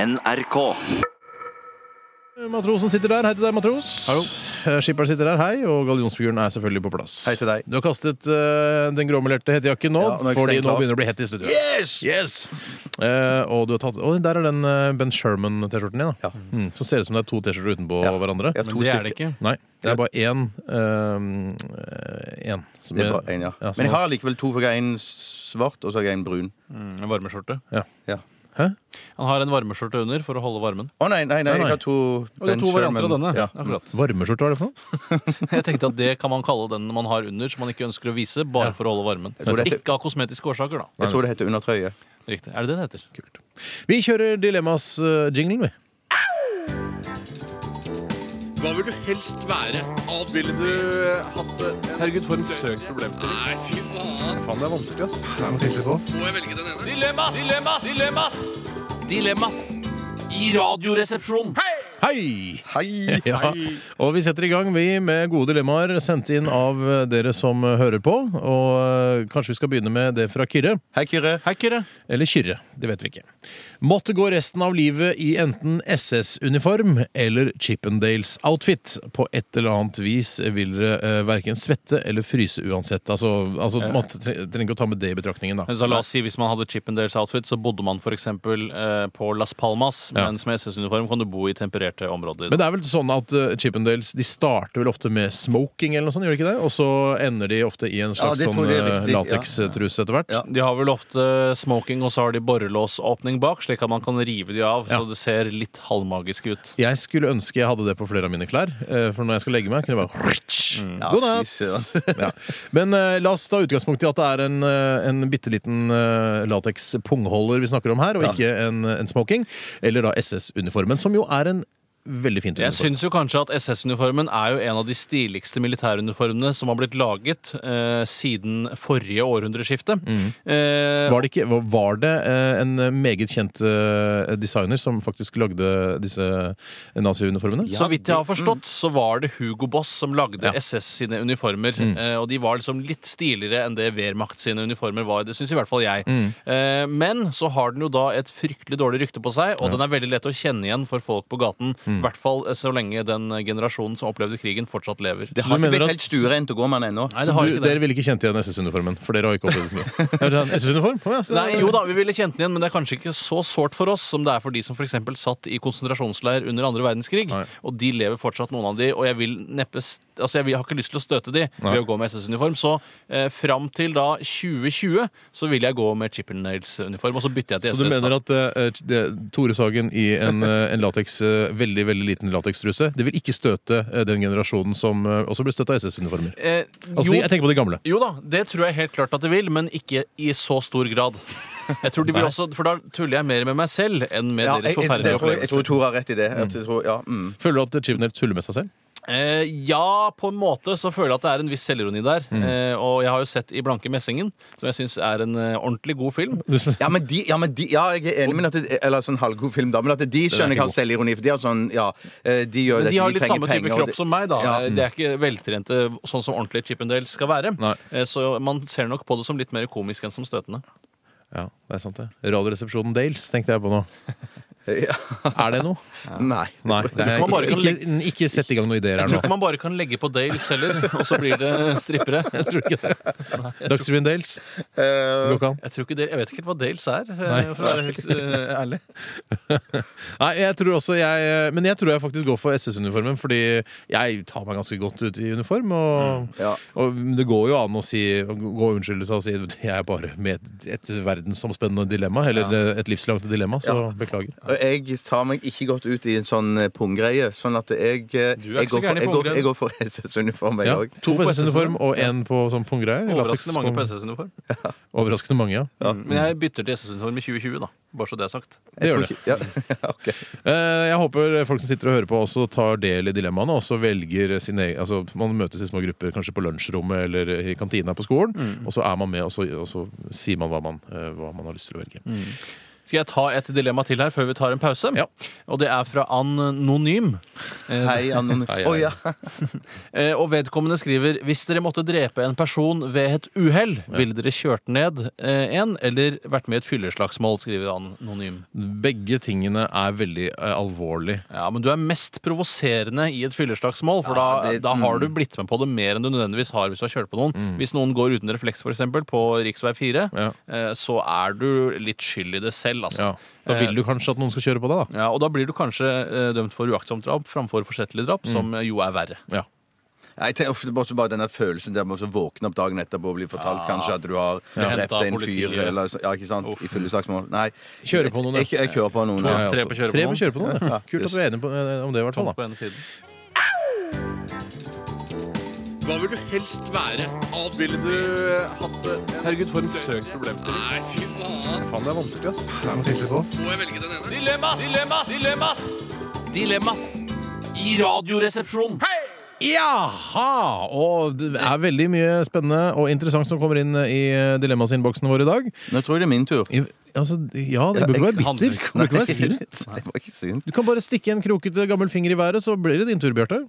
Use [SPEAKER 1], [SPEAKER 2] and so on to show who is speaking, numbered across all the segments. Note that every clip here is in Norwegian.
[SPEAKER 1] NRK.
[SPEAKER 2] Matrosen sitter der. Hei til deg, matros.
[SPEAKER 3] Hallo.
[SPEAKER 2] Eh, Skipperen sitter der, hei. Og gallionsfiguren er selvfølgelig på plass.
[SPEAKER 3] Hei til deg.
[SPEAKER 2] Du har kastet eh, den gråmelerte hettejakken nå,
[SPEAKER 3] Ja, nå er ikke
[SPEAKER 2] fordi
[SPEAKER 3] stengt
[SPEAKER 2] nå
[SPEAKER 3] av.
[SPEAKER 2] begynner det å bli hett i studio.
[SPEAKER 3] Yes!
[SPEAKER 2] Yes! Eh, og du har tatt Å, der er den eh, Ben Sherman-T-skjorten din. da.
[SPEAKER 3] Ja.
[SPEAKER 2] Mm, som ser ut som det er to T-skjorter utenpå
[SPEAKER 3] Ja.
[SPEAKER 2] hverandre.
[SPEAKER 3] Ja,
[SPEAKER 4] Men
[SPEAKER 3] to
[SPEAKER 4] det er det
[SPEAKER 3] stykker.
[SPEAKER 4] ikke.
[SPEAKER 2] Nei, det er bare én. eh, Én. som
[SPEAKER 3] Det er bare en, ja.
[SPEAKER 2] Ja, som
[SPEAKER 3] Men jeg
[SPEAKER 2] er-
[SPEAKER 3] har likevel to, for jeg har en svart og så har jeg en brun.
[SPEAKER 4] Mm, En varmeskjorte.
[SPEAKER 3] Ja.
[SPEAKER 4] Han har en varmeskjorte under for å holde varmen.
[SPEAKER 3] Å nei, nei, nei,
[SPEAKER 2] Nei, nei.
[SPEAKER 3] jeg har to
[SPEAKER 4] Og det er
[SPEAKER 3] Ben
[SPEAKER 4] to varianter av
[SPEAKER 3] Sherman.
[SPEAKER 4] denne.
[SPEAKER 3] Ja.
[SPEAKER 4] Akkurat.
[SPEAKER 2] Varmeskjorte, hva er det for noe?
[SPEAKER 4] Jeg tenkte at det kan man kalle den man har under, som man ikke ønsker å vise, bare for å holde varmen.
[SPEAKER 3] tror det-
[SPEAKER 4] Ikke av kosmetiske årsaker, da.
[SPEAKER 3] Jeg tror det heter undertrøye.
[SPEAKER 4] Riktig. Er det det det heter?
[SPEAKER 2] Vi kjører Dilemmas-jinglen, vi.
[SPEAKER 5] Hva vil du helst være? Ville du hatt det? Herregud, for en søk problem til. Nei, fy faen. Faen, det er vanskelig, ass. Må jeg velge den ene? Dilemmas! Dilemmas! Dilemmas! Dilemmas! I radioresepsjonen.
[SPEAKER 2] Hei!
[SPEAKER 3] Hei!
[SPEAKER 2] Ja, og vi setter i gang vi med gode dilemmaer sendt inn av dere som hører på. Og eh, kanskje vi skal begynne med det fra Kyrre.
[SPEAKER 3] Hei, Kyrre.
[SPEAKER 4] Hei, Kyrre.
[SPEAKER 2] Eller Kyrre, det vet vi ikke. Måtte gå resten av livet i enten SS-uniform eller Chippendales-outfit. På et eller annet vis vil dere eh, verken svette eller fryse uansett. Altså, altså måtte, tre- trenger ikke å ta med det i betraktningen, da.
[SPEAKER 4] Så la oss si Hvis man hadde Chippendales-outfit, så bodde man f.eks. Eh, på Las Palmas.
[SPEAKER 2] Ja.
[SPEAKER 4] Mens med SS-uniform kan du bo i tempererte områder.
[SPEAKER 2] Men det er vel sånn at eh, Chippendales de starter vel ofte med smoking, eller noe sånt, gjør de ikke det? Og så ender de ofte i en
[SPEAKER 3] Ja,
[SPEAKER 2] slags
[SPEAKER 3] det
[SPEAKER 2] sånn
[SPEAKER 3] tror jeg er
[SPEAKER 2] eh,
[SPEAKER 3] riktig, ja.
[SPEAKER 2] latekstruse etter hvert.
[SPEAKER 3] Ja.
[SPEAKER 4] De har vel ofte smoking, og så har de borrelåsåpning bak, slik at man kan rive de av,
[SPEAKER 2] Ja.
[SPEAKER 4] så det ser litt halvmagisk ut.
[SPEAKER 2] Jeg skulle ønske jeg hadde det på flere av mine klær. eh, For når jeg skal legge meg, kunne jeg bare God
[SPEAKER 3] Mm. Ja,
[SPEAKER 2] natt!
[SPEAKER 3] fy
[SPEAKER 2] ja. Men eh, la oss ta utgangspunkt i at det er en, eh, en bitte liten lateks-pungholder vi snakker om her, og ikke en, en smoking. Eller da SS-uniformen, som jo er en veldig fint
[SPEAKER 4] Jeg
[SPEAKER 2] uniform.
[SPEAKER 4] syns jo kanskje at SS-uniformen er jo en av de stiligste militæruniformene som har blitt laget eh, siden forrige århundreskifte.
[SPEAKER 3] Mm.
[SPEAKER 4] Eh,
[SPEAKER 2] Var det, ikke, var- var det eh, en meget kjent eh, designer som faktisk lagde disse eh, nazi-uniformene?
[SPEAKER 4] så vidt jeg har
[SPEAKER 3] mm.
[SPEAKER 4] forstått, så var det Hugo Boss som lagde SS sine uniformer.
[SPEAKER 3] Mm.
[SPEAKER 4] eh, Og de var liksom litt stiligere enn det Wehrmacht sine uniformer var. Det syns i hvert fall jeg.
[SPEAKER 3] Mm.
[SPEAKER 4] Eh, Men så har den jo da et fryktelig dårlig rykte på seg, og den er veldig lett å kjenne igjen for folk på gaten.
[SPEAKER 3] Mm.
[SPEAKER 4] I hvert fall eh, så lenge den generasjonen som opplevde krigen, fortsatt lever.
[SPEAKER 3] Det har
[SPEAKER 2] Du
[SPEAKER 3] ikke
[SPEAKER 2] mener
[SPEAKER 3] blitt
[SPEAKER 2] at-
[SPEAKER 3] helt stuereint å gå med den ennå.
[SPEAKER 4] Nei,
[SPEAKER 2] Så
[SPEAKER 4] det har
[SPEAKER 2] du,
[SPEAKER 4] ikke det.
[SPEAKER 2] dere ville ikke kjent igjen SS-uniformen, for dere har ikke opplevd mye. Er det en SS-uniform? Å, ja, så-
[SPEAKER 4] Nei, jo da, vi ville kjent den igjen, men det er kanskje ikke så sårt for oss som det er for de som f.eks. satt i konsentrasjonsleir under andre verdenskrig.
[SPEAKER 2] Nei.
[SPEAKER 4] Og de lever fortsatt, noen av de, og jeg vil neppe st- Altså, jeg vil- har ikke lyst til å støte de
[SPEAKER 2] Nei.
[SPEAKER 4] ved å gå med SS-uniform. Så eh, fram til da 2020 så vil jeg gå med Chippendales-uniform, og så bytter jeg til
[SPEAKER 2] Så
[SPEAKER 4] SS.
[SPEAKER 2] du
[SPEAKER 4] da.
[SPEAKER 2] mener at eh, det- Tore Sagen i en, eh, en latex, eh, veldig veldig liten latekstruse Det vil ikke støte eh, den generasjonen som eh, også ble støtt av SS-uniformer?
[SPEAKER 4] eh,
[SPEAKER 2] Altså,
[SPEAKER 4] jo,
[SPEAKER 2] de, jeg tenker på de gamle.
[SPEAKER 4] jo da, det tror jeg helt klart at de vil, men ikke i så stor grad. Jeg tror de vil også, For da tuller jeg mer med meg selv enn med
[SPEAKER 3] Ja, jeg,
[SPEAKER 4] deres
[SPEAKER 3] jeg, det
[SPEAKER 4] forferdelige
[SPEAKER 3] tror jeg, jeg
[SPEAKER 4] opplevelser.
[SPEAKER 3] tror Tor har rett i det. At jeg tror, ja, mm.
[SPEAKER 2] Føler du at Chibnell tuller med seg selv?
[SPEAKER 4] Eh, ja, på en måte så føler jeg at det er en viss selvironi der. Eh, og jeg har jo sett I blanke messingen, som jeg syns er en eh, ordentlig god film.
[SPEAKER 2] Du s-
[SPEAKER 3] ja, men de, ja, men de, ja, jeg er enig med at det, Eller sånn halvgod film, da. Men at de
[SPEAKER 2] er ikke
[SPEAKER 3] skjønner jeg har
[SPEAKER 2] god.
[SPEAKER 3] selvironi. For de har sånn, ja eh, De gjør
[SPEAKER 4] Men
[SPEAKER 3] dette,
[SPEAKER 4] de har litt
[SPEAKER 3] trenger
[SPEAKER 4] samme type
[SPEAKER 3] penger, og
[SPEAKER 4] kropp
[SPEAKER 3] det-
[SPEAKER 4] som meg, da.
[SPEAKER 3] Ja.
[SPEAKER 4] Eh, De er ikke veltrente sånn som ordentlig Chippendale skal være.
[SPEAKER 2] Nei.
[SPEAKER 4] Eh, så man ser nok på det som litt mer komisk enn som støtende.
[SPEAKER 2] Ja, det er sant, det. Radioresepsjonen Dales tenkte jeg på nå.
[SPEAKER 3] Ja.
[SPEAKER 2] Er det noe?
[SPEAKER 3] Nei.
[SPEAKER 2] Nei. Det er,
[SPEAKER 4] Man bare kan
[SPEAKER 2] ikke, ikke, ikke sett i gang noen ideer her
[SPEAKER 4] Jeg
[SPEAKER 2] nå.
[SPEAKER 4] tror ikke man bare kan legge på Dale heller, og så blir det strippere. Jeg tror ikke det. Nei, jeg, tror,
[SPEAKER 2] Dagsrevyen Dales.
[SPEAKER 3] Eh,
[SPEAKER 2] Går ikke an.
[SPEAKER 4] jeg, tror ikke Dale, jeg vet ikke helt hva Dales er, eh, for å være helt eh, ærlig.
[SPEAKER 2] Nei, jeg tror også jeg eh, Men jeg tror jeg faktisk går for SS-uniformen, fordi jeg tar meg ganske godt ut i uniform. Og,
[SPEAKER 3] Mm, ja.
[SPEAKER 2] og det går jo an å si å gå og unnskylde seg og si jeg er bare med et, et verdensomspennende dilemma, eller eh, et livslangt dilemma, så
[SPEAKER 3] Ja.
[SPEAKER 2] beklager.
[SPEAKER 3] Og jeg tar meg ikke godt ut i en sånn eh, punggreie. Sånn at jeg, eh,
[SPEAKER 4] Du er
[SPEAKER 3] jeg,
[SPEAKER 4] ikke så
[SPEAKER 3] går for,
[SPEAKER 4] gæren i
[SPEAKER 3] jeg, går,
[SPEAKER 4] punggreie.
[SPEAKER 3] jeg går for SS-uniform, jeg
[SPEAKER 2] Ja,
[SPEAKER 3] òg.
[SPEAKER 2] to på
[SPEAKER 4] på
[SPEAKER 2] SS-uniform og én på sånn punggreie.
[SPEAKER 4] Overraskende mange på
[SPEAKER 2] Latex-
[SPEAKER 4] SS-uniform.
[SPEAKER 2] Overraskende mange, ja.
[SPEAKER 4] Men jeg bytter til SS-uniform i 2020, da. Bare så det er sagt.
[SPEAKER 2] Det gjør det.
[SPEAKER 3] Ja, ok.
[SPEAKER 2] Eh, Jeg håper folk som sitter og hører på, også tar del i dilemmaene. og Også velger sin egen, altså Man møtes i små grupper, kanskje på lunsjrommet eller i
[SPEAKER 4] Mm.
[SPEAKER 2] kantina på skolen. Og så er man med, og så, og så sier man hva man, eh, hva man har lyst til å velge.
[SPEAKER 4] Skal jeg ta et dilemma til her før vi tar en pause?
[SPEAKER 2] Ja.
[SPEAKER 4] Og det er fra Anonym. Eh,
[SPEAKER 3] Hei, Anon... Å
[SPEAKER 2] Hei, hei.
[SPEAKER 3] ja.
[SPEAKER 4] Eh, Og vedkommende skriver Hvis dere måtte drepe en person ved et uhell, ville dere kjørt ned eh, en eller vært med i et fylleslagsmål? skriver han anonym.
[SPEAKER 2] Begge tingene er veldig eh, alvorlig.
[SPEAKER 4] Ja, Men du er mest provoserende i et fylleslagsmål, for
[SPEAKER 3] Ja,
[SPEAKER 4] da,
[SPEAKER 3] det-
[SPEAKER 4] da har du blitt med på det mer enn du nødvendigvis har hvis du har kjørt på noen. Hvis noen går uten refleks, f.eks., på rv. 4,
[SPEAKER 2] Ja.
[SPEAKER 4] eh, så er du litt skyld i det selv, altså.
[SPEAKER 2] Ja. Da vil du kanskje at noen skal kjøre på deg, da.
[SPEAKER 4] Ja, og da blir du kanskje eh, dømt for uaktsomt drap framfor forsettlig drap, som eh, jo er verre.
[SPEAKER 3] Nei, Jeg tenker ofte bare- bare denne følelsen der med å våkne opp dagen etterpå og bli fortalt
[SPEAKER 4] Ja.
[SPEAKER 3] kanskje at du har
[SPEAKER 4] Hentet
[SPEAKER 3] drept
[SPEAKER 4] av
[SPEAKER 3] en
[SPEAKER 4] politiet.
[SPEAKER 3] fyr eller så- Ja, ikke sant? I fulle slagsmål. Nei.
[SPEAKER 2] Kjøre på noen, ja.
[SPEAKER 3] Jeg, jeg, jeg kjører på noen.
[SPEAKER 4] Ja,
[SPEAKER 3] Ja.
[SPEAKER 4] ja. Tre på kjøre på
[SPEAKER 2] Tre
[SPEAKER 4] noen.
[SPEAKER 2] på kjøre på noen. ja. Kult at du er enig på, eh, om det, i hvert fall.
[SPEAKER 4] Tungt
[SPEAKER 2] da.
[SPEAKER 4] på ene siden.
[SPEAKER 5] Hva vil du helst være? Ville du eh, hatt det? Herregud, for en søk problemstilling. Nei, fy faen. Faen, det er vanskelig, ass. Må jeg velge den ene?
[SPEAKER 4] Dilemmas! Dilemmas! Dilemmas! Dilemmas i Radioresepsjonen.
[SPEAKER 2] Jaha! Og det er veldig mye spennende og interessant som kommer inn eh, i dilemmasinnboksen vår i dag.
[SPEAKER 3] Nå tror jeg det er min tur.
[SPEAKER 2] I, altså, ja, det bør ikke være bitter. Det bør ikke være sint.
[SPEAKER 3] Nei, det var ikke sint.
[SPEAKER 2] Du kan bare stikke en krokete gammel finger i været, så blir det din tur, Bjarte.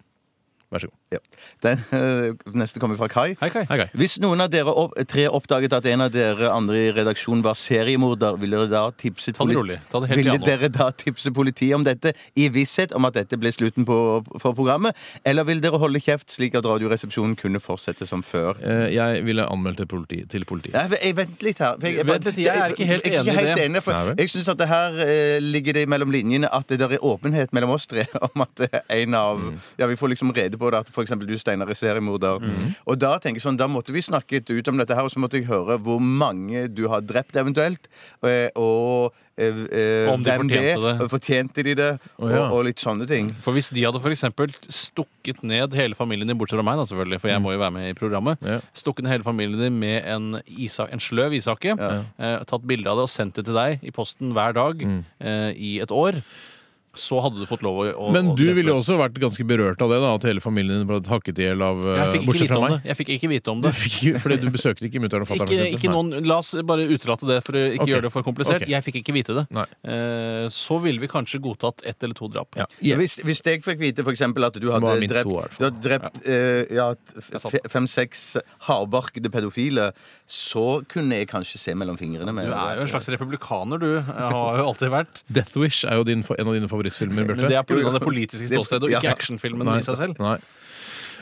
[SPEAKER 2] Vær så god.
[SPEAKER 3] Ja. Den eh, neste kommer fra Kai.
[SPEAKER 4] Hei, Kai.
[SPEAKER 2] Hei, Kai.
[SPEAKER 3] Hvis noen av dere opp, tre oppdaget at en av dere andre i redaksjonen var seriemorder, ville dere da tipse
[SPEAKER 4] Ta det
[SPEAKER 3] politi-
[SPEAKER 4] rolig. Ta det helt
[SPEAKER 3] Ville
[SPEAKER 4] piano.
[SPEAKER 3] dere da tipse politiet om dette i visshet om at dette ble slutten på, for programmet? Eller ville dere holde kjeft slik at Radioresepsjonen kunne fortsette som før?
[SPEAKER 2] Eh, Jeg ville anmeldt det politi, til politiet.
[SPEAKER 3] Jeg, jeg vent litt her. for Jeg,
[SPEAKER 4] Vent litt, jeg er ikke helt
[SPEAKER 3] jeg, jeg,
[SPEAKER 4] enig i
[SPEAKER 3] er ikke helt
[SPEAKER 4] det.
[SPEAKER 3] enig
[SPEAKER 2] Nei
[SPEAKER 3] for
[SPEAKER 2] vel.
[SPEAKER 3] jeg syns at det her eh, ligger det mellom linjene at det der er åpenhet mellom oss tre om at det er en av
[SPEAKER 4] Mm.
[SPEAKER 3] Ja, vi får liksom rede på det at f.eks. du, Steinar, er seriemorder.
[SPEAKER 4] Mm.
[SPEAKER 3] Og da tenker jeg sånn, da måtte vi snakket ut om dette her, og så måtte jeg høre hvor mange du har drept eventuelt. eh, Og, eh, eh,
[SPEAKER 4] Om de
[SPEAKER 3] hvem
[SPEAKER 4] fortjente
[SPEAKER 3] er,
[SPEAKER 4] det.
[SPEAKER 3] og Fortjente de det?
[SPEAKER 2] Å, ja.
[SPEAKER 3] og, og litt sånne ting.
[SPEAKER 4] For hvis de hadde for eksempel stukket ned hele familien din, bortsett fra meg, da selvfølgelig, for jeg må jo være med i programmet,
[SPEAKER 2] Ja.
[SPEAKER 4] stukket ned hele familien din med en, isa, en sløv ishake, eh, tatt bilde av det og sendt det til deg i posten hver dag
[SPEAKER 2] Mm.
[SPEAKER 4] eh, i et år, så hadde du fått lov å, å
[SPEAKER 2] Men
[SPEAKER 4] å-
[SPEAKER 2] du ville jo også vært ganske berørt av det, da, at hele familien din ble hakket i hjel av eh,
[SPEAKER 4] jeg fikk, ikke
[SPEAKER 2] Bortsett
[SPEAKER 4] vite
[SPEAKER 2] fra
[SPEAKER 4] om det.
[SPEAKER 2] meg.
[SPEAKER 4] jeg fikk ikke vite om det.
[SPEAKER 2] Fikk- Fordi du besøkte ikke mutter'n og fatter'n?
[SPEAKER 4] Ikke, ikke noen, la oss bare utelate det for å ikke
[SPEAKER 2] Ok.
[SPEAKER 4] gjøre det for komplisert.
[SPEAKER 2] Ok.
[SPEAKER 4] Jeg fikk ikke vite det.
[SPEAKER 2] Nei.
[SPEAKER 4] Eh, så ville vi kanskje godtatt ett eller to drap.
[SPEAKER 2] Ja. Ja.
[SPEAKER 3] Hvis, hvis jeg fikk vite for eksempel, at du hadde
[SPEAKER 2] Bare minst
[SPEAKER 3] drept,
[SPEAKER 2] to, i hvert
[SPEAKER 3] du hadde drept eh, ja, fem-seks hardbarkede pedofile, så kunne jeg kanskje se mellom fingrene med
[SPEAKER 4] Du er jo en slags republikaner, du. Jeg har jo alltid vært.
[SPEAKER 2] Death Wish er jo din, en av dine favorittfilmer, Bjarte.
[SPEAKER 4] Men det er pga. det politiske ståstedet og ikke
[SPEAKER 3] Ja.
[SPEAKER 4] actionfilmen i seg selv.
[SPEAKER 2] Nei.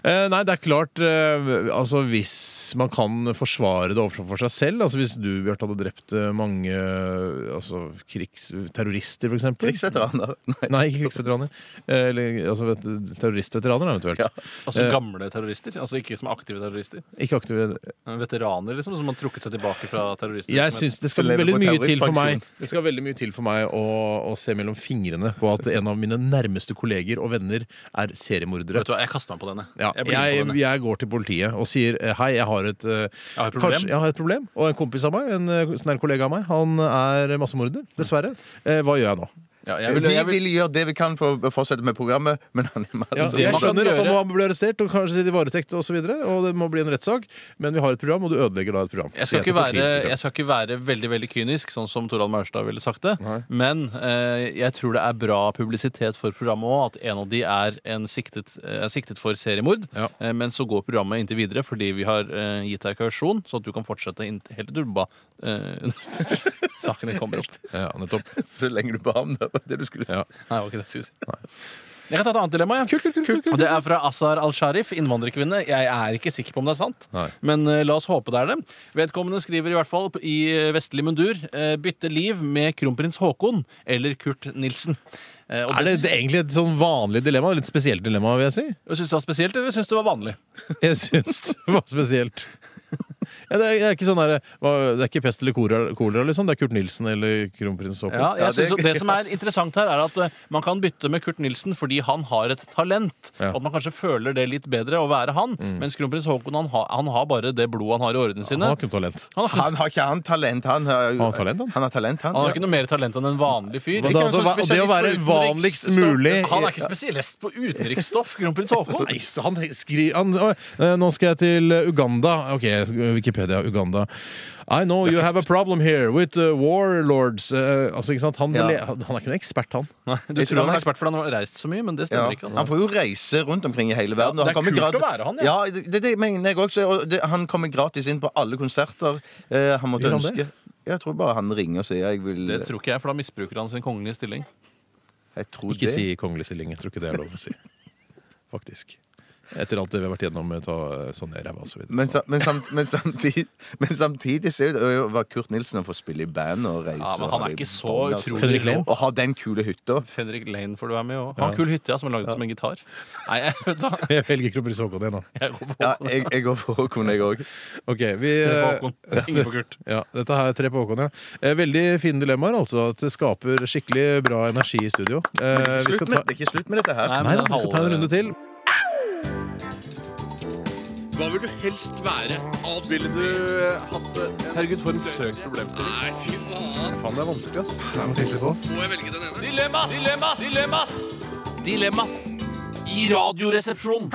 [SPEAKER 2] Eh, nei, det er klart eh, Altså Hvis man kan forsvare det overfor seg selv Altså Hvis du, Bjarte, hadde drept eh, mange eh, altså, krigs, terrorister, for eksempel
[SPEAKER 3] krigsveteraner. Nei.
[SPEAKER 2] Nei, ikke krigsveteraner. Eh, eller altså, vet, terroristveteraner, eventuelt.
[SPEAKER 3] Ja.
[SPEAKER 4] Altså
[SPEAKER 2] Eh.
[SPEAKER 4] gamle terrorister. Altså ikke som aktive terrorister.
[SPEAKER 2] Ikke aktive
[SPEAKER 4] Men veteraner, liksom, som har trukket seg tilbake fra terrorister.
[SPEAKER 2] Jeg syns det skal
[SPEAKER 3] Som lever
[SPEAKER 2] veldig
[SPEAKER 3] på
[SPEAKER 2] mye til for
[SPEAKER 3] terroristpensjon.
[SPEAKER 2] meg Det skal veldig mye til for meg å, å se mellom fingrene på at en av mine nærmeste kolleger og venner er seriemordere.
[SPEAKER 4] Vet du hva, jeg kasta meg på denne.
[SPEAKER 2] Ja, jeg,
[SPEAKER 4] Jeg blir med på
[SPEAKER 2] jeg,
[SPEAKER 4] denne.
[SPEAKER 2] går til politiet og sier eh, hei, jeg har et, eh,
[SPEAKER 4] har et problem.»
[SPEAKER 2] Kanskje, jeg har et problem. Og en kompis av meg, en eh, snær kollega av meg, han er massemorder, dessverre. Eh, hva gjør jeg nå?
[SPEAKER 4] Ja, jeg vil,
[SPEAKER 3] Vi
[SPEAKER 4] jeg vil,
[SPEAKER 3] vil gjøre det vi kan for å fortsette med programmet, men han er masse
[SPEAKER 4] det
[SPEAKER 2] jeg
[SPEAKER 4] man kan
[SPEAKER 2] skjønner at han
[SPEAKER 4] gjøre-
[SPEAKER 2] må bli arrestert og kanskje sitte i varetekt og, så videre, og det må bli en rettssak, men vi har et program, og du ødelegger da et program.
[SPEAKER 4] jeg skal,
[SPEAKER 2] Så
[SPEAKER 4] ikke
[SPEAKER 2] til
[SPEAKER 4] være,
[SPEAKER 2] politiets betjent.
[SPEAKER 4] jeg skal ikke være veldig veldig kynisk, sånn som Torald Maurstad ville sagt det. Men eh, jeg tror det er bra publisitet for programmet òg, at en av de er en siktet, eh, er siktet for seriemord.
[SPEAKER 2] Ja.
[SPEAKER 4] Eh, men så går programmet inntil videre fordi vi har eh, gitt deg kausjon, sånn at du kan fortsette inn, helt til du ba eh, sakene kommer opp.
[SPEAKER 2] ja, nettopp.
[SPEAKER 3] så lenge du ba om det. var det du skulle si.
[SPEAKER 2] Ja.
[SPEAKER 4] Nei, det var ikke det jeg skulle si. Jeg kan ta et annet dilemma. Ja. Og Det er fra Azar al-Sharif, innvandrerkvinne. Jeg er ikke sikker på om det er sant,
[SPEAKER 2] Nei.
[SPEAKER 4] men eh, la oss håpe det er det. Vedkommende skriver i hvert fall p- i eh, vestlig mundur eh, 'Bytte liv med kronprins Haakon eller Kurt Nilsen'. Eh, og
[SPEAKER 2] Er det, det er egentlig et sånn vanlig dilemma? Litt spesielt dilemma, vil jeg si.
[SPEAKER 4] Syns du det var spesielt, eller syns du det var vanlig?
[SPEAKER 2] Jeg syns det var spesielt. Ja, det, er, det er ikke sånn der, hva- det er ikke pest eller kolera, kolera liksom. Det er Kurt Nilsen eller kronprins Haakon.
[SPEAKER 4] Ja, jeg
[SPEAKER 3] Ja, det-
[SPEAKER 4] synes, det som er interessant her, er at eh, man kan bytte med Kurt Nilsen fordi han har et talent.
[SPEAKER 2] Ja.
[SPEAKER 4] Og at man kanskje føler det litt bedre å være han. Mens kronprins Haakon han, har- han har bare det blodet han har i årene
[SPEAKER 2] Han
[SPEAKER 4] sine.
[SPEAKER 2] har kun talent.
[SPEAKER 4] Han har,
[SPEAKER 3] Han har ikke han talent, han. Har,
[SPEAKER 2] Han har talent, han.
[SPEAKER 3] har talent, han.
[SPEAKER 4] han har
[SPEAKER 3] Ja.
[SPEAKER 4] ikke noe mer talent enn en vanlig fyr. sånn
[SPEAKER 2] Hva da, altså, hva- det å være vanligst mulig
[SPEAKER 4] Han er ikke spesialist på utenriksstoff, kronprins Haakon.
[SPEAKER 2] Nei, han skri, han, å, eh, Nå skal jeg til Uganda. Ok, jeg- Wikipedia Wikipedia Uganda. I know you have a problem here with uh, warlords. Eh, altså, ikke sant? Han,
[SPEAKER 3] Ja.
[SPEAKER 2] le- han er ikke noen ekspert, han.
[SPEAKER 4] Nei, du
[SPEAKER 3] Jeg tror
[SPEAKER 4] tror han
[SPEAKER 3] han
[SPEAKER 4] er
[SPEAKER 3] er-
[SPEAKER 4] ekspert fordi han har reist så mye, men det
[SPEAKER 3] Ja.
[SPEAKER 4] stemmer ikke.
[SPEAKER 3] Han
[SPEAKER 4] Altså.
[SPEAKER 3] får jo reise rundt omkring i hele verden.
[SPEAKER 4] Ja,
[SPEAKER 3] og
[SPEAKER 4] det er
[SPEAKER 3] han kommer
[SPEAKER 4] kult å være han,
[SPEAKER 3] ja. det, det, det mener jeg også. Og det, han kommer gratis inn på alle konserter eh, han måtte
[SPEAKER 2] Gjør han
[SPEAKER 3] ønske.
[SPEAKER 2] det?
[SPEAKER 3] Jeg tror bare han ringer og sier jeg vil
[SPEAKER 4] Det tror ikke jeg, for da misbruker han sin kongelige stilling.
[SPEAKER 3] jeg tror
[SPEAKER 2] Ikke
[SPEAKER 3] det.
[SPEAKER 2] si kongelig stilling. Jeg tror ikke det er lov å si. Faktisk. Etter alt det vi har vært gjennom med å ta eh, Sonja i ræva og så videre.
[SPEAKER 3] Men, sa- men, samt, men, samtidig, men samtidig så er det jo- var Kurt Nilsen å få spille i band og reise.
[SPEAKER 4] Ja, men
[SPEAKER 3] og
[SPEAKER 4] han
[SPEAKER 3] ha
[SPEAKER 4] er
[SPEAKER 3] det i
[SPEAKER 4] ikke så
[SPEAKER 3] band, altså.
[SPEAKER 4] utrolig
[SPEAKER 2] Fredrik Lehn?
[SPEAKER 4] rå.
[SPEAKER 3] Å ha den kule hytta.
[SPEAKER 4] Fredrik Lane får du være med òg. Han har kul hytte ja, som er laget som en gitar. Nei, jeg, vet du hva.
[SPEAKER 2] Jeg velger ikke å bli så god igjen, da.
[SPEAKER 4] Jeg går for
[SPEAKER 3] Ja, jeg, jeg går for Håkon, jeg òg.
[SPEAKER 2] Ok, vi eh,
[SPEAKER 4] Håkon. Ingen på Kurt.
[SPEAKER 2] ja, Dette her er tre på Håkon, ja. Eh, Veldig fine dilemmaer, altså. At det skaper skikkelig bra energi i studio. Eh, vi skal ta,
[SPEAKER 3] Det er ikke slutt med dette her.
[SPEAKER 4] Nei, men
[SPEAKER 2] nei, da,
[SPEAKER 4] det er
[SPEAKER 2] vi skal ta
[SPEAKER 4] halve-
[SPEAKER 2] en runde til.
[SPEAKER 5] Hva vil du helst være? Ville du eh, hatt det? Herregud, for en søk problem. Nei, fy faen. Faen, det er vanskelig, ass. Må jeg velge den ene?
[SPEAKER 4] Dilemmas! Dilemmas! Dilemmas! Dilemmas i Radioresepsjonen.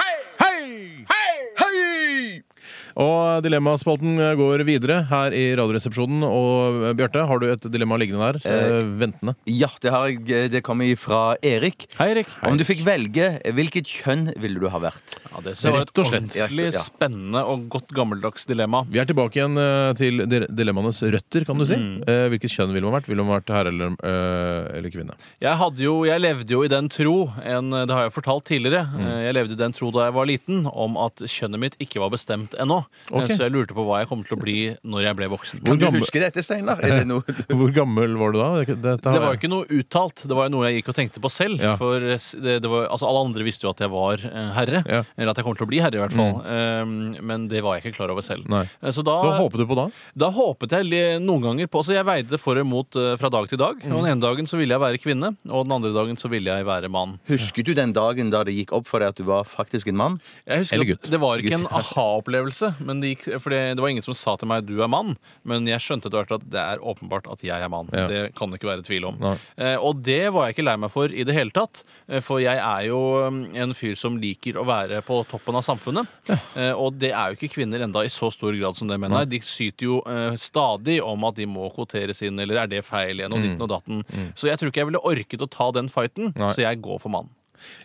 [SPEAKER 2] Og dilemmaspalten går videre her i Radioresepsjonen. Og eh, Bjarte, har du et dilemma liggende der? Eh, ventende.
[SPEAKER 3] Ja, det, har jeg, eh, det kommer fra Erik.
[SPEAKER 4] Hei, Erik.
[SPEAKER 3] Om du fikk velge, eh, hvilket kjønn ville du ha vært?
[SPEAKER 4] Ja, det ser
[SPEAKER 2] Rett og slett.
[SPEAKER 4] ordentlig
[SPEAKER 3] Ja.
[SPEAKER 4] spennende og godt gammeldags dilemma.
[SPEAKER 2] Vi er tilbake igjen eh, til dire- dilemmaenes røtter, kan du si. Eh, Hvilket kjønn ville man vært? Ville man vært herre eller, eh, eller kvinne?
[SPEAKER 4] Jeg, hadde jo, jeg levde jo i den tro, en, det har jeg fortalt tidligere,
[SPEAKER 2] Mm.
[SPEAKER 4] eh, jeg levde i den tro da jeg var liten, om at kjønnet mitt ikke var bestemt ennå. Eh,
[SPEAKER 2] Ok.
[SPEAKER 4] Så jeg lurte på hva jeg kom til å bli når jeg ble voksen.
[SPEAKER 2] Hvor
[SPEAKER 3] Kan du
[SPEAKER 2] gammel-
[SPEAKER 3] huske dette, Steinar? Er det noe du
[SPEAKER 2] Hvor gammel var du da? Dette har
[SPEAKER 4] Det var jo
[SPEAKER 2] jeg-
[SPEAKER 4] ikke noe uttalt, det var jo noe jeg gikk og tenkte på selv.
[SPEAKER 2] Ja.
[SPEAKER 4] For s- det, det var, altså alle andre visste jo at jeg var eh, herre,
[SPEAKER 2] Ja. Mm.
[SPEAKER 4] eller at jeg kom til å bli herre i hvert fall. Eh, men det var jeg ikke klar over selv.
[SPEAKER 2] Nei.
[SPEAKER 4] Eh, Så da,
[SPEAKER 2] Hva håpet du på da?
[SPEAKER 4] da håpet jeg li- noen ganger på Så jeg veide for og imot eh, fra dag til dag.
[SPEAKER 2] Mm.
[SPEAKER 4] Og den ene dagen så ville jeg være kvinne, og den andre dagen så ville jeg være mann.
[SPEAKER 3] Husker du den dagen da det gikk opp for deg at du var faktisk en mann?
[SPEAKER 4] Jeg husker
[SPEAKER 2] Eller
[SPEAKER 4] at
[SPEAKER 2] gutt.
[SPEAKER 4] Det var ikke en aha-opplevelse. Men det, gikk, for det, det var ingen som sa til meg 'du er mann', men jeg skjønte etter hvert at det er åpenbart at jeg er mann.
[SPEAKER 2] Ja.
[SPEAKER 4] Det kan det ikke være tvil om.
[SPEAKER 2] Nei.
[SPEAKER 4] Eh, og det var jeg ikke lei meg for i det hele tatt. eh, For jeg er jo eh, en fyr som liker å være på toppen av samfunnet. Eh, og det er jo ikke kvinner enda i så stor grad som det menn er. De syter jo eh, stadig om at de må kvoteres inn, eller er det feil igjen,
[SPEAKER 2] Mm.
[SPEAKER 4] og ditten og datten. Så jeg tror ikke jeg ville orket å ta den fighten,
[SPEAKER 2] Nei.
[SPEAKER 4] så jeg går for mann.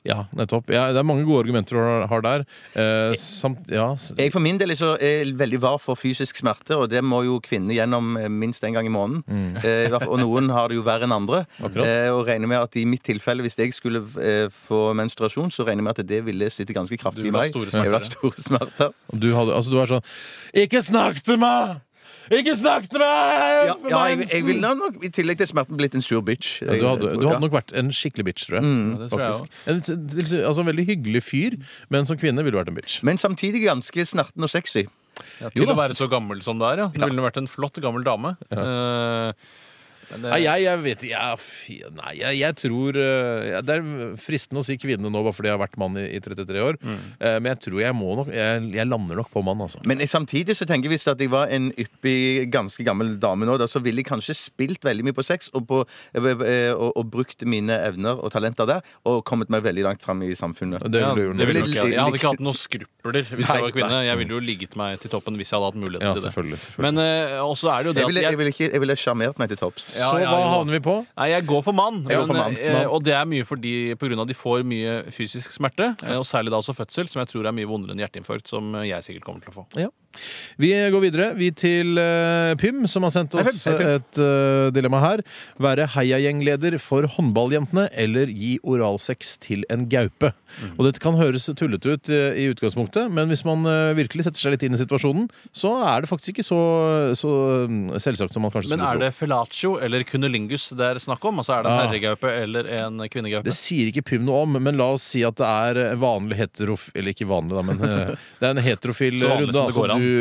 [SPEAKER 2] Ja, nettopp. Ja, det er mange gode argumenter du har- har der. Eh, samt, ja. s-
[SPEAKER 3] Jeg for min del er så er veldig var for fysisk smerte, og det må jo kvinner gjennom eh, minst én gang i måneden. Eh, i hvert fall- og noen har det jo verre enn andre.
[SPEAKER 2] Akkurat.
[SPEAKER 3] Eh, og regner med at i mitt tilfelle, hvis jeg skulle eh, få menstruasjon, så regner jeg med at det ville sitte ganske kraftig
[SPEAKER 4] Du
[SPEAKER 3] i
[SPEAKER 4] vil ha
[SPEAKER 3] meg.
[SPEAKER 4] store
[SPEAKER 3] Jeg vil ha
[SPEAKER 4] smerter,
[SPEAKER 3] store smerter.
[SPEAKER 2] Du, hadde, altså, du er sånn Ikke snakk til meg! Ikke snakk til meg!
[SPEAKER 3] Ja, ja, jeg, jeg ville nok i tillegg til smerten blitt en sur bitch.
[SPEAKER 2] Ja, du, hadde,
[SPEAKER 3] Jeg
[SPEAKER 2] du
[SPEAKER 3] tror- ja. Mm.
[SPEAKER 2] hadde nok vært en skikkelig bitch, tror jeg.
[SPEAKER 4] det tror jeg
[SPEAKER 2] Faktisk. En, s- til- altså, en veldig hyggelig fyr, men som kvinne ville du vært en bitch.
[SPEAKER 3] Men samtidig ganske snerten og sexy.
[SPEAKER 4] Ja, til
[SPEAKER 2] Jo
[SPEAKER 4] å
[SPEAKER 2] da.
[SPEAKER 4] være så gammel som det er, ja. Du ville vært en flott gammel dame. Eh, men det,
[SPEAKER 2] Nei, jeg, jeg vet ikke jeg, fy- Nei, jeg, jeg tror eh, ja, Det er fristende å si kvinne nå, bare fordi jeg har vært mann i, i 33 år.
[SPEAKER 4] Mm.
[SPEAKER 2] Eh, men jeg tror jeg må nok Jeg, jeg lander nok på mann, altså.
[SPEAKER 3] Men jeg- samtidig så tenker jeg hvis at jeg var en yppig, ganske gammel dame nå, da, så ville jeg kanskje spilt veldig mye på sex og, på, eh, og, og brukt mine evner og talenter der og kommet meg veldig langt fram i samfunnet.
[SPEAKER 2] Det
[SPEAKER 4] ja,
[SPEAKER 2] ville du
[SPEAKER 4] det
[SPEAKER 2] gjort.
[SPEAKER 4] ville
[SPEAKER 3] nok
[SPEAKER 4] nok jeg. jeg hadde ikke hatt noen skrupler hvis jeg var kvinne. Jeg ville jo ligget meg til toppen hvis jeg hadde hatt muligheten
[SPEAKER 2] Ja,
[SPEAKER 4] til det.
[SPEAKER 2] selvfølgelig. selvfølgelig.
[SPEAKER 4] Men eh, også er det jo det
[SPEAKER 3] Jeg ville,
[SPEAKER 4] at
[SPEAKER 3] jeg ville, ikke, jeg ville sjarmert meg til topps.
[SPEAKER 4] Ja,
[SPEAKER 2] så
[SPEAKER 4] ja,
[SPEAKER 2] hva
[SPEAKER 4] jo.
[SPEAKER 2] havner vi på?
[SPEAKER 4] Nei, jeg går for mann,
[SPEAKER 3] Jeg går for
[SPEAKER 4] men,
[SPEAKER 3] mann.
[SPEAKER 4] eh,
[SPEAKER 3] Mann.
[SPEAKER 4] og det er mye fordi pga. de får mye fysisk smerte, eh, og særlig da også fødsel, som jeg tror er mye vondere enn hjerteinfarkt, som eh, jeg sikkert kommer til å få.
[SPEAKER 2] Ja. Vi går videre. Vi til eh, Pym, som har sendt oss
[SPEAKER 3] Hei, Pym. Hei,
[SPEAKER 2] et eh, dilemma her. Være heiagjengleder for håndballjentene eller gi oralsex til en gaupe.
[SPEAKER 4] Mhm.
[SPEAKER 2] Og dette kan høres tullete ut eh, i utgangspunktet, men hvis man eh, virkelig setter seg litt inn i situasjonen, så er det faktisk ikke så, så mm, selvsagt som man kanskje
[SPEAKER 4] Men
[SPEAKER 2] skulle
[SPEAKER 4] er
[SPEAKER 2] tro.
[SPEAKER 4] det fellatio eller cunnilingus det er snakk om? Altså er det en
[SPEAKER 2] Ah.
[SPEAKER 4] herregaupe eller en kvinnegaupe?
[SPEAKER 2] Det sier ikke Pym noe om, men la oss si at det er eh, vanlig heterof... Eller ikke vanlig, da, men eh, det er en heterofil
[SPEAKER 4] Så vanlig
[SPEAKER 2] runde.
[SPEAKER 4] som det
[SPEAKER 2] Altså,
[SPEAKER 4] går an.
[SPEAKER 2] du,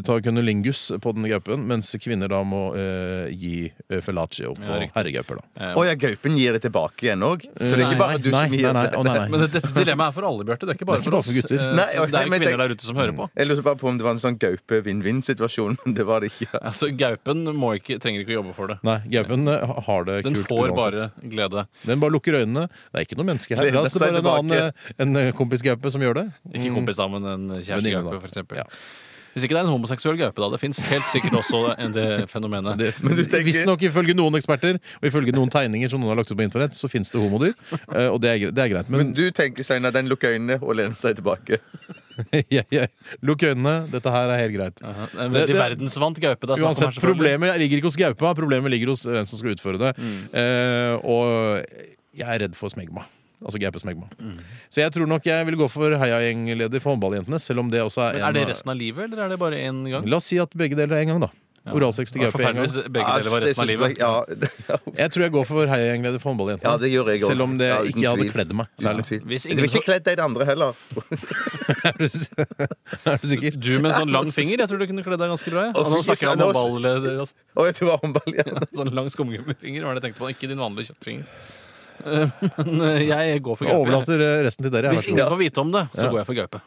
[SPEAKER 2] du tar kunnelingus på den gaupen, mens kvinner da må eh, gi eh, fellatio på
[SPEAKER 4] Ja, riktig.
[SPEAKER 2] herregauper. da.
[SPEAKER 3] Å ja, gaupen gir det tilbake igjen òg? Så det er ikke bare du
[SPEAKER 2] nei,
[SPEAKER 3] som
[SPEAKER 2] nei,
[SPEAKER 3] gir
[SPEAKER 2] nei,
[SPEAKER 3] det?
[SPEAKER 2] å, nei, nei.
[SPEAKER 4] Men dette dilemmaet er for alle, Bjarte. Det er ikke bare
[SPEAKER 2] Det er ikke
[SPEAKER 4] for
[SPEAKER 2] bare
[SPEAKER 4] oss.
[SPEAKER 2] for gutter.
[SPEAKER 4] Eh,
[SPEAKER 3] Nei,
[SPEAKER 4] så
[SPEAKER 3] ok,
[SPEAKER 4] det er jo
[SPEAKER 3] men
[SPEAKER 4] kvinner
[SPEAKER 3] tenk-
[SPEAKER 4] der ute som hører på.
[SPEAKER 2] Mm.
[SPEAKER 3] Jeg lurte bare på om det var en sånn gaupe-vinn-vinn-situasjon, men det var det ikke.
[SPEAKER 4] Altså, Gaupen må ikke, trenger ikke å jobbe for det.
[SPEAKER 2] Nei, Gaupen eh, har det
[SPEAKER 4] Den
[SPEAKER 2] kult
[SPEAKER 4] får bare glede.
[SPEAKER 2] Den bare lukker øynene. Det er ikke noe menneske her.
[SPEAKER 3] Lener
[SPEAKER 2] La oss det
[SPEAKER 3] seg
[SPEAKER 2] bare en, annen, eh, en eh, kompisgaupe som gjør det.
[SPEAKER 4] Ikke kompis, da, men en
[SPEAKER 2] Venninne, da.
[SPEAKER 4] kjærestegaupe, f.eks.
[SPEAKER 2] Ja.
[SPEAKER 4] Hvis ikke det er en homoseksuell gaupe, da. Det fins helt sikkert også en- det fenomenet.
[SPEAKER 2] Det- Visstnok ifølge noen eksperter og ifølge noen tegninger som noen har lagt ut på internett, så fins det homodyr. eh, Og det er, gre- det er greit. Men,
[SPEAKER 3] Men du tenker, Steinar, den lukker øynene og lener seg tilbake.
[SPEAKER 2] jeg, jeg, lukk øynene. Dette her er helt greit.
[SPEAKER 4] Ja, det er en
[SPEAKER 2] Det-
[SPEAKER 4] veldig
[SPEAKER 2] det-
[SPEAKER 4] verdensvant gaupe. Det er snakk om her,
[SPEAKER 2] Uansett,
[SPEAKER 4] selvfølgelig.
[SPEAKER 2] problemet ligger ikke hos gaupa, problemet ligger hos hvem som skal utføre det.
[SPEAKER 4] Mm.
[SPEAKER 2] Eh, og jeg er redd for smegma. Altså gaupesmegma.
[SPEAKER 4] Mm.
[SPEAKER 2] Så jeg tror nok jeg vil gå for heiagjengleder for håndballjentene, selv om det også er
[SPEAKER 4] Men
[SPEAKER 2] en
[SPEAKER 4] er det resten av livet, eller er det bare én gang?
[SPEAKER 2] La oss si at begge deler er en gang, da. Oralsex til
[SPEAKER 4] Det var
[SPEAKER 2] gaupe en
[SPEAKER 4] forferdelig
[SPEAKER 2] gang.
[SPEAKER 4] hvis begge deler var resten av livet.
[SPEAKER 3] Ja, det- ja,
[SPEAKER 2] Jeg tror jeg går for heiagjengleder for håndballjentene.
[SPEAKER 3] Ja, det gjør jeg også.
[SPEAKER 2] Selv om det
[SPEAKER 3] Ja, uten
[SPEAKER 2] ikke hadde
[SPEAKER 3] tvil.
[SPEAKER 2] kledd meg
[SPEAKER 3] uten
[SPEAKER 2] særlig.
[SPEAKER 3] tvil.
[SPEAKER 4] Hvis
[SPEAKER 3] Det
[SPEAKER 4] ingen
[SPEAKER 3] var ikke
[SPEAKER 4] så-
[SPEAKER 3] kledd deg i det andre heller.
[SPEAKER 2] Er du s- er du sikker?
[SPEAKER 4] Du med en sånn lang finger, jeg tror du kunne kledd deg ganske bra. jeg.
[SPEAKER 3] Å,
[SPEAKER 4] Og nå
[SPEAKER 3] fy
[SPEAKER 4] snakker jeg om
[SPEAKER 3] søren,
[SPEAKER 4] ball, altså.
[SPEAKER 3] Å, jeg tror det var håndball igjen.
[SPEAKER 4] Sånn lang skumgummifinger var det jeg tenkte på. Ikke din vanlige kjøttfinger. Eh, Men eh, jeg går for
[SPEAKER 2] Jeg
[SPEAKER 4] gaupe.
[SPEAKER 2] overlater eh, resten til dere. jeg,
[SPEAKER 4] Hvis
[SPEAKER 2] vær så
[SPEAKER 4] ingen
[SPEAKER 2] god.
[SPEAKER 4] får vite om det, så går jeg for gaupe.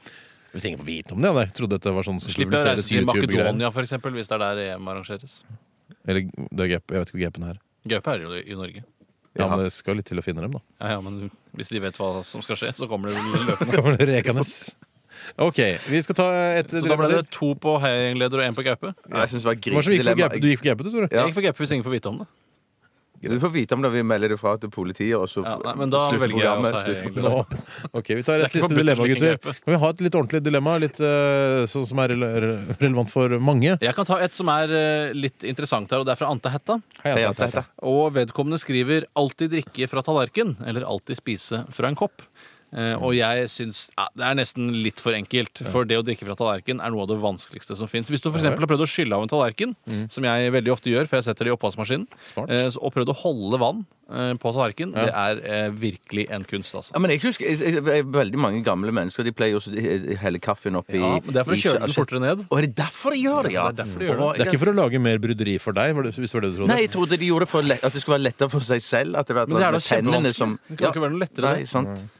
[SPEAKER 2] Hvis ingen får vite om det, hadde jeg trodd dette var sånn som
[SPEAKER 4] Slipper jeg å reise
[SPEAKER 2] publiseres
[SPEAKER 4] til
[SPEAKER 2] YouTube-greier.
[SPEAKER 4] Makedonia, for eksempel, hvis det er der EM arrangeres.
[SPEAKER 2] Eller det er gaupe. Jeg vet ikke hvor gaupen er.
[SPEAKER 4] Gaupe er jo i Norge.
[SPEAKER 2] Ja, men det skal litt til å finne dem, da.
[SPEAKER 4] Ja, ja, men hvis de vet hva som skal skje, så kommer det vel løpende.
[SPEAKER 2] Kommer det rekandes? OK, vi skal ta et
[SPEAKER 4] Så da
[SPEAKER 2] dilemma
[SPEAKER 4] ble det
[SPEAKER 2] til.
[SPEAKER 4] to på heiagjenggleder og én på gaupe.
[SPEAKER 3] Nei, Jeg synes det
[SPEAKER 2] Hva
[SPEAKER 3] var
[SPEAKER 2] som gikk for
[SPEAKER 3] grisedilemma.
[SPEAKER 2] gaupe? Du gikk for gaupe, du, Tore?
[SPEAKER 3] Ja.
[SPEAKER 4] Jeg gikk for gaupe hvis ingen får vite om det.
[SPEAKER 3] Du får vite om det. Vi melder det fra til politiet, og så
[SPEAKER 4] Ja, nei, men da
[SPEAKER 3] slutter
[SPEAKER 4] velger jeg
[SPEAKER 3] programmet,
[SPEAKER 4] også
[SPEAKER 3] slutter-
[SPEAKER 4] heiagjenggleder.
[SPEAKER 2] Nå. OK, vi tar et
[SPEAKER 4] Det er ikke
[SPEAKER 2] siste
[SPEAKER 4] forbudt å
[SPEAKER 2] dilemma,
[SPEAKER 4] slikke
[SPEAKER 2] gutter.
[SPEAKER 4] gaupe.
[SPEAKER 2] Kan vi ha et litt ordentlig dilemma? Litt eh, sånn som er rele- re- relevant for mange?
[SPEAKER 4] Jeg kan ta et som er eh, litt interessant her, og det er fra Ante Hætta.
[SPEAKER 2] Hei,
[SPEAKER 3] Hei,
[SPEAKER 2] hei,
[SPEAKER 3] Ante,
[SPEAKER 2] hei, hei.
[SPEAKER 3] hei.
[SPEAKER 4] Og vedkommende skriver 'alltid drikke fra tallerken' eller 'alltid spise fra en kopp'. Eh, og jeg syns ja, det er nesten litt for enkelt. For det å drikke fra tallerken er noe av det vanskeligste som fins. Hvis du for eksempel har prøvd å skylle av en tallerken, som jeg veldig ofte gjør, for jeg setter det i oppvaskmaskinen,
[SPEAKER 2] Smart.
[SPEAKER 4] eh, så- og prøvd å holde vann eh, på tallerken, det er eh, virkelig en kunst, altså.
[SPEAKER 3] Ja, men jeg husker, jeg, jeg, jeg, Veldig mange gamle mennesker De pleier også å helle kaffen oppi
[SPEAKER 4] Ja, men det er for å kjøle den fortere ned.
[SPEAKER 3] Å, er det derfor de gjør det? Ja,
[SPEAKER 4] Ja, det er derfor de gjør det.
[SPEAKER 3] Å,
[SPEAKER 2] Det er ikke for å lage mer bryderi for deg, var det- hvis det var det du trodde?
[SPEAKER 3] Nei, jeg trodde de gjorde det for å lett, at det skulle være lettere for seg selv. At det var,
[SPEAKER 4] Men det er da
[SPEAKER 3] var tennene
[SPEAKER 4] kjempevanskelig.
[SPEAKER 3] som
[SPEAKER 4] Det kan ikke være noe lettere,
[SPEAKER 3] Nei,
[SPEAKER 4] det.
[SPEAKER 3] sant.
[SPEAKER 2] Mm.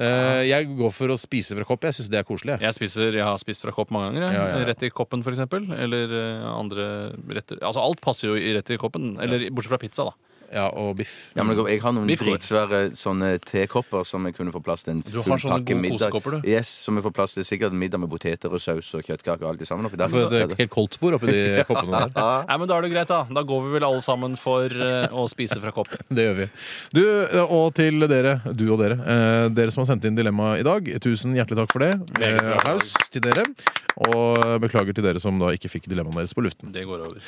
[SPEAKER 2] Eh, jeg går for å spise fra kopp. Jeg syns det er koselig. Jeg.
[SPEAKER 4] Jeg, spiser, jeg har spist fra kopp mange ganger. Jeg.
[SPEAKER 2] Ja, ja, ja.
[SPEAKER 4] Rett i koppen, for eksempel. Eller eh, andre retter. Altså, alt passer jo i rett i koppen. Eller bortsett fra pizza, da.
[SPEAKER 2] Ja, og biff.
[SPEAKER 3] Ja, men jeg jeg har noen
[SPEAKER 4] Vi får-
[SPEAKER 3] dritsvære sånne tekopper som jeg kunne få plass til en
[SPEAKER 4] Du
[SPEAKER 3] full
[SPEAKER 4] har sånne
[SPEAKER 3] pakke
[SPEAKER 4] gode
[SPEAKER 3] middag.
[SPEAKER 4] kosekopper, du.
[SPEAKER 3] Yes, som jeg får plass til sikkert en middag med poteter og saus og kjøttkaker og alt det sammen oppi der.
[SPEAKER 2] For et helt koldtbord oppi de koppene der.
[SPEAKER 4] Nei, men Da er det greit, da. Da går vi vel alle sammen for eh, å spise fra kopp.
[SPEAKER 2] Det gjør vi. Du, og til dere, du og dere, eh, dere som har sendt inn dilemma i dag, tusen hjertelig takk for det. Eh,
[SPEAKER 4] Meget bra.
[SPEAKER 2] Applaus til dere. Og beklager til dere som da ikke fikk dilemmaene deres på luften.
[SPEAKER 4] Det går over.